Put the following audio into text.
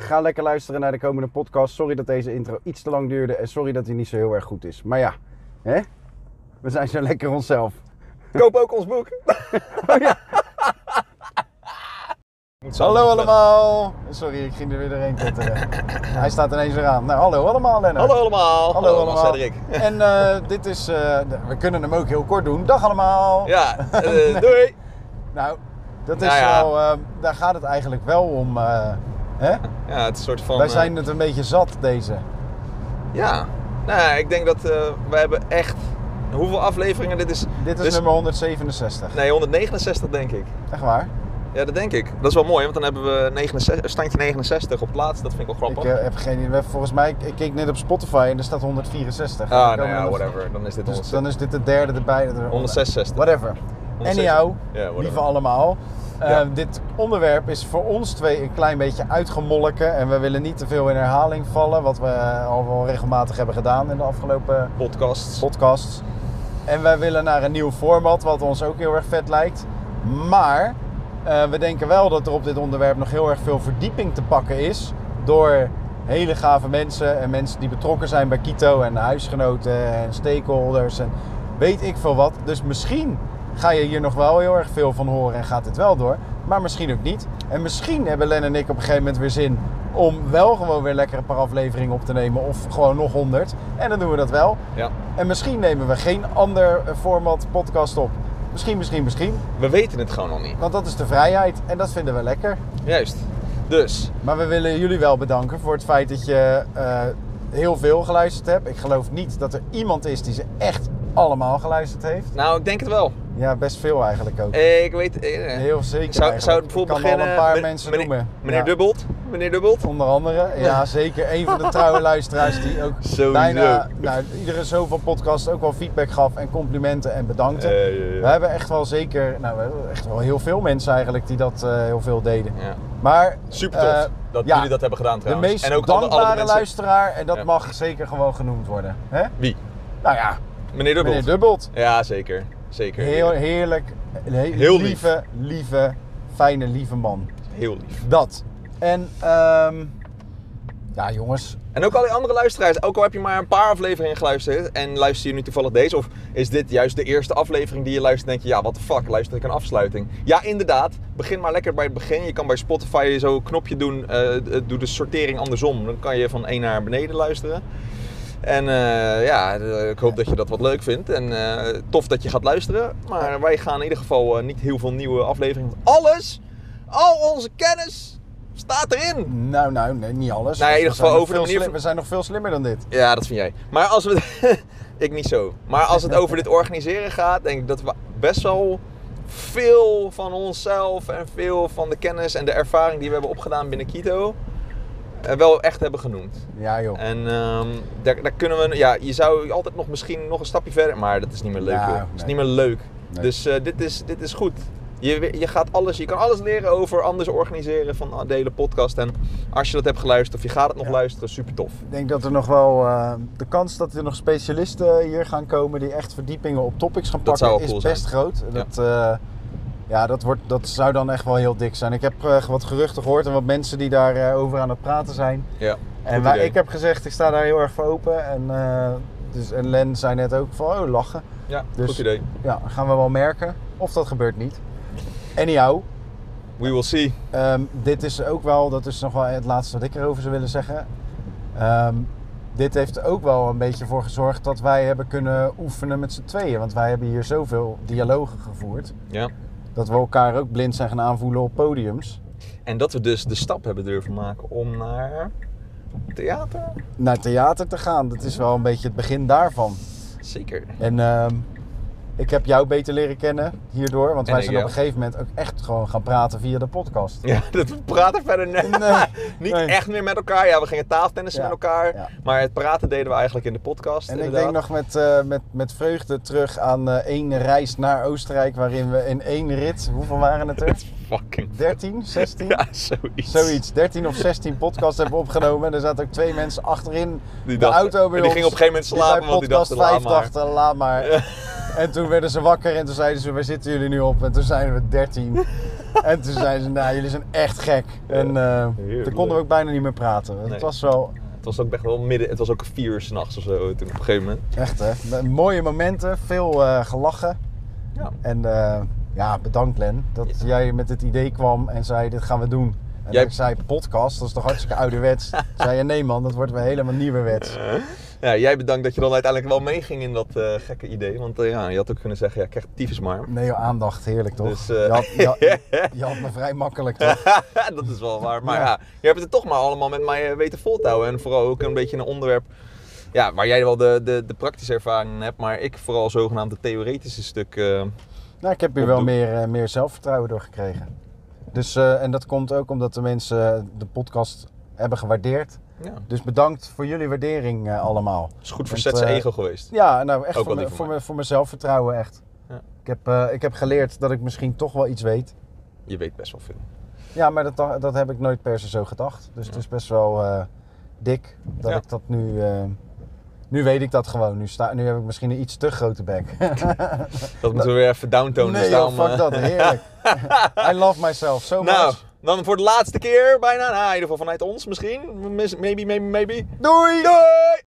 Ga lekker luisteren naar de komende podcast. Sorry dat deze intro iets te lang duurde. En sorry dat hij niet zo heel erg goed is. Maar ja, hè? we zijn zo lekker onszelf. Koop ook ons boek. Oh, Moet zo Hallo nog allemaal. Sorry, ik ging er weer doorheen tetteren. hij staat ineens eraan. Nou, hallo bellen. allemaal Lennart. Hallo allemaal. Hallo allemaal. Cedric. En eh, dit is, eh, we kunnen hem ook heel kort doen. Dag allemaal. Ja, eh, doei. Nou, dat is Nou ja. wel, eh, daar gaat het eigenlijk wel om. eh, hè? Ja, het is een soort van... Wij eh, zijn het een beetje zat, deze. Ja. Nou, ja, ik denk dat eh wij hebben echt... Hoeveel afleveringen? Dit is... Dit is dus- nummer 167. Nee, 169 denk ik. Echt waar? Ja, dat denk ik. Dat is wel mooi, want dan hebben we 69, standje 69 op het laatste. Dat vind ik wel Ik grappig. eh, heb geen idee. Volgens mij, ik keek net op Spotify en er staat 164. ah, Ik kan nou ja, me- whatever. Dan is dit Dus 160. dan is dit de derde erbij. de- 166. Whatever. 166. Anyhow, Ja, whatever. lieve allemaal. eh, Ja. dit onderwerp is voor ons twee een klein beetje uitgemolken. En we willen niet te veel in herhaling vallen. Wat we al wel regelmatig hebben gedaan in de afgelopen Podcasts. podcasts. En wij willen naar een nieuw format, wat ons ook heel erg vet lijkt. Maar eh, we denken wel dat er op dit onderwerp nog heel erg veel verdieping te pakken is. Door hele gave mensen en mensen die betrokken zijn bij Kito en huisgenoten en stakeholders en weet ik veel wat. Dus misschien ga je hier nog wel heel erg veel van horen en gaat dit wel door. Maar misschien ook niet. En misschien hebben Len en ik op een gegeven moment weer zin om wel gewoon weer lekker een paar afleveringen op te nemen. Of gewoon nog honderd. En dan doen we dat wel. Ja. En misschien nemen we geen ander eh, format podcast op. Misschien, misschien, misschien. We weten het gewoon nog niet. Want dat is de vrijheid en dat vinden we lekker. Juist. Dus, Maar we willen jullie wel bedanken voor het feit dat je eh, heel veel geluisterd hebt. Ik geloof niet dat er iemand is die ze echt allemaal geluisterd heeft. nou, ik denk het wel. Ja, best veel eigenlijk ook. Ik weet... eh, Heel zeker Zou, eigenlijk. zou het Ik bijvoorbeeld kan al beginnen... een paar men- mensen meneer, noemen. Meneer Ja. Dubbelt? Meneer Dubbelt? Onder andere, ja zeker, een van de trouwe luisteraars die ook Sowieso. bijna nou, iedere zoveel podcast ook wel feedback gaf en complimenten en bedankte. Eh, ja, ja. We hebben echt wel zeker, nou we hebben echt wel heel veel mensen eigenlijk die dat eh, heel veel deden. Ja. Maar Super tof eh, dat ja, jullie dat hebben gedaan de trouwens. meest en ook alle- alle dankbare mensen- luisteraar en dat Ja. mag zeker gewoon genoemd worden. Hè? Wie? Nou ja, Meneer Dubbelt? meneer Dubbelt. Ja, zeker. Zeker. Heel heerlijk, een he- Heel lief. lieve, lieve, fijne, lieve man. Heel lief. Dat. En ehm, ja jongens, En ook al die andere luisteraars, ook al heb je maar een paar afleveringen geluisterd en luister je nu toevallig deze, of is dit juist de eerste aflevering die je luistert, denk je, ja, wat de fuck, luister ik een afsluiting? Ja, inderdaad, begin maar lekker bij het begin. Je kan bij Spotify zo'n knopje doen, eh, eh, doe de sortering andersom. Dan kan je van 1 naar beneden luisteren. En eh, ja, eh, ik hoop dat je dat wat leuk vindt. En eh, tof dat je gaat luisteren. Maar wij gaan in ieder geval eh, niet heel veel nieuwe afleveringen. want Alles, al onze kennis staat erin. nou nou, nee, niet alles. Nou ja, in ieder We zijn geval nog over de veel manier slim- van- We zijn nog veel slimmer dan dit. Ja, dat vind jij. Maar als we. ik niet zo. Maar als het over dit organiseren gaat, denk ik dat we best wel veel van onszelf en veel van de kennis en de ervaring die we hebben opgedaan binnen Quito. eh, wel echt hebben genoemd. Ja joh. En ehm, daar, daar kunnen we. Ja, je zou altijd nog misschien nog een stapje verder. Maar dat is niet meer leuk. Ja, joh. Dat is nee. niet meer leuk. Nee. Dus eh, dit, is, dit is goed. Je, je, gaat alles, je kan alles leren over anders organiseren van eh, de hele podcast. En als je dat hebt geluisterd of je gaat het nog Ja. luisteren, super tof. Ik denk dat er nog wel eh, de kans dat er nog specialisten hier gaan komen die echt verdiepingen op topics gaan Dat pakken, zou wel is cool best zijn. groot. Dat, ja, ja dat, wordt, dat zou dan echt wel heel dik zijn. Ik heb eh, wat geruchten gehoord en wat mensen die daarover over aan het praten zijn. Ja. En goed wij- idee. ik heb gezegd, ik sta daar heel erg voor open. En, eh, dus, en Len zei net ook van, oh lachen. Ja, Dus- goed idee. Ja, gaan we wel merken. Of dat gebeurt niet. Anyhow, We will see. Ehm, dit is ook wel, dat is nog wel het laatste wat ik erover zou willen zeggen. Ehm, dit heeft er ook wel een beetje voor gezorgd dat wij hebben kunnen oefenen met z'n tweeën. Want wij hebben hier zoveel dialogen gevoerd. Ja. Dat we elkaar ook blind zijn gaan aanvoelen op podiums. En dat we dus de stap hebben durven maken om naar theater. Naar theater te gaan, dat is wel een beetje het begin daarvan. Zeker. En ehm, Ik heb jou beter leren kennen hierdoor, want En wij ik zijn op jou. een gegeven moment ook echt gewoon gaan praten via de podcast. Ja, dat we praten verder net. Nee, niet nee. echt meer met elkaar. Ja, we gingen tafeltennissen Ja, met elkaar. ja. Maar het praten deden we eigenlijk in de podcast. En ik inderdaad. denk nog met, eh, met, met vreugde terug aan eh, één reis naar Oostenrijk, waarin we in één rit, hoeveel waren het er? Fucking. 13, 16? Ja, zoiets. Zoiets, 13 of 16 podcasts hebben we opgenomen. En er zaten ook twee mensen achterin Die de dacht- auto bij en die ons. ging op een gegeven moment bij slapen, want die podcast dachten, laat 5 maar. dachten, laat maar. En toen werden ze wakker en toen zeiden ze, waar zitten jullie nu op? En toen zijn we 13. en toen zeiden ze, nou jullie zijn echt gek. En eh, toen Heerlijk. konden we ook bijna niet meer praten. Nee. Het was wel Het was ook echt wel midden. Het was ook vier uur s'nachts of zo toen op een gegeven moment. echt hè, mooie momenten, veel eh, gelachen. Ja. En eh, ja, bedankt Len, dat Ja. jij met het idee kwam en zei, dit gaan we doen. En Jij- ik zei, podcast, dat is toch hartstikke ouderwets? Toen zei je, nee man, dat wordt weer helemaal nieuwerwets. Eh. Ja, jij bedankt dat je dan uiteindelijk wel meeging in dat eh, gekke idee. Want eh, ja, je had ook kunnen zeggen, ja, ik krijg tyfus maar. Nee, joh, aandacht, heerlijk toch? Dus, eh, je, had, je, had- je had me vrij makkelijk toch? dat is wel waar. Maar Ja. ja. je hebt het toch maar allemaal met mij eh, weten vol te houden. En vooral ook een beetje een onderwerp ja, waar jij wel de, de, de praktische ervaring in hebt. Maar ik vooral zogenaamd het theoretische stuk. eh, Nou, ik heb hier wel Opdoen. meer, eh, meer zelfvertrouwen door gekregen. Dus, eh, en dat komt ook omdat de mensen eh, de podcast hebben gewaardeerd. ja, Dus bedankt voor jullie waardering eh, allemaal. is goed voor Want, Zetse eh, ego geweest. Ja, nou echt Ook wel voor, me, lief van voor, mij. me, voor mijn zelfvertrouwen echt. Ja. Ik, heb, eh, ik heb geleerd dat ik misschien toch wel iets weet. Je weet best wel veel. Ja, maar dat, da- dat heb ik nooit per se zo gedacht. Dus het is best wel eh, dik dat Ja. ik dat nu... eh, nu weet ik dat gewoon. Nu, sta, nu heb ik misschien een iets te grote bek. Dat moeten we weer even downtonen. nee, dus joh, daarom, eh, fuck dat. Heerlijk. I love myself so Nou, much. dan voor de laatste keer bijna. Nou, in ieder geval vanuit ons misschien. Mis- Maybe, maybe, maybe. Doei! Doei!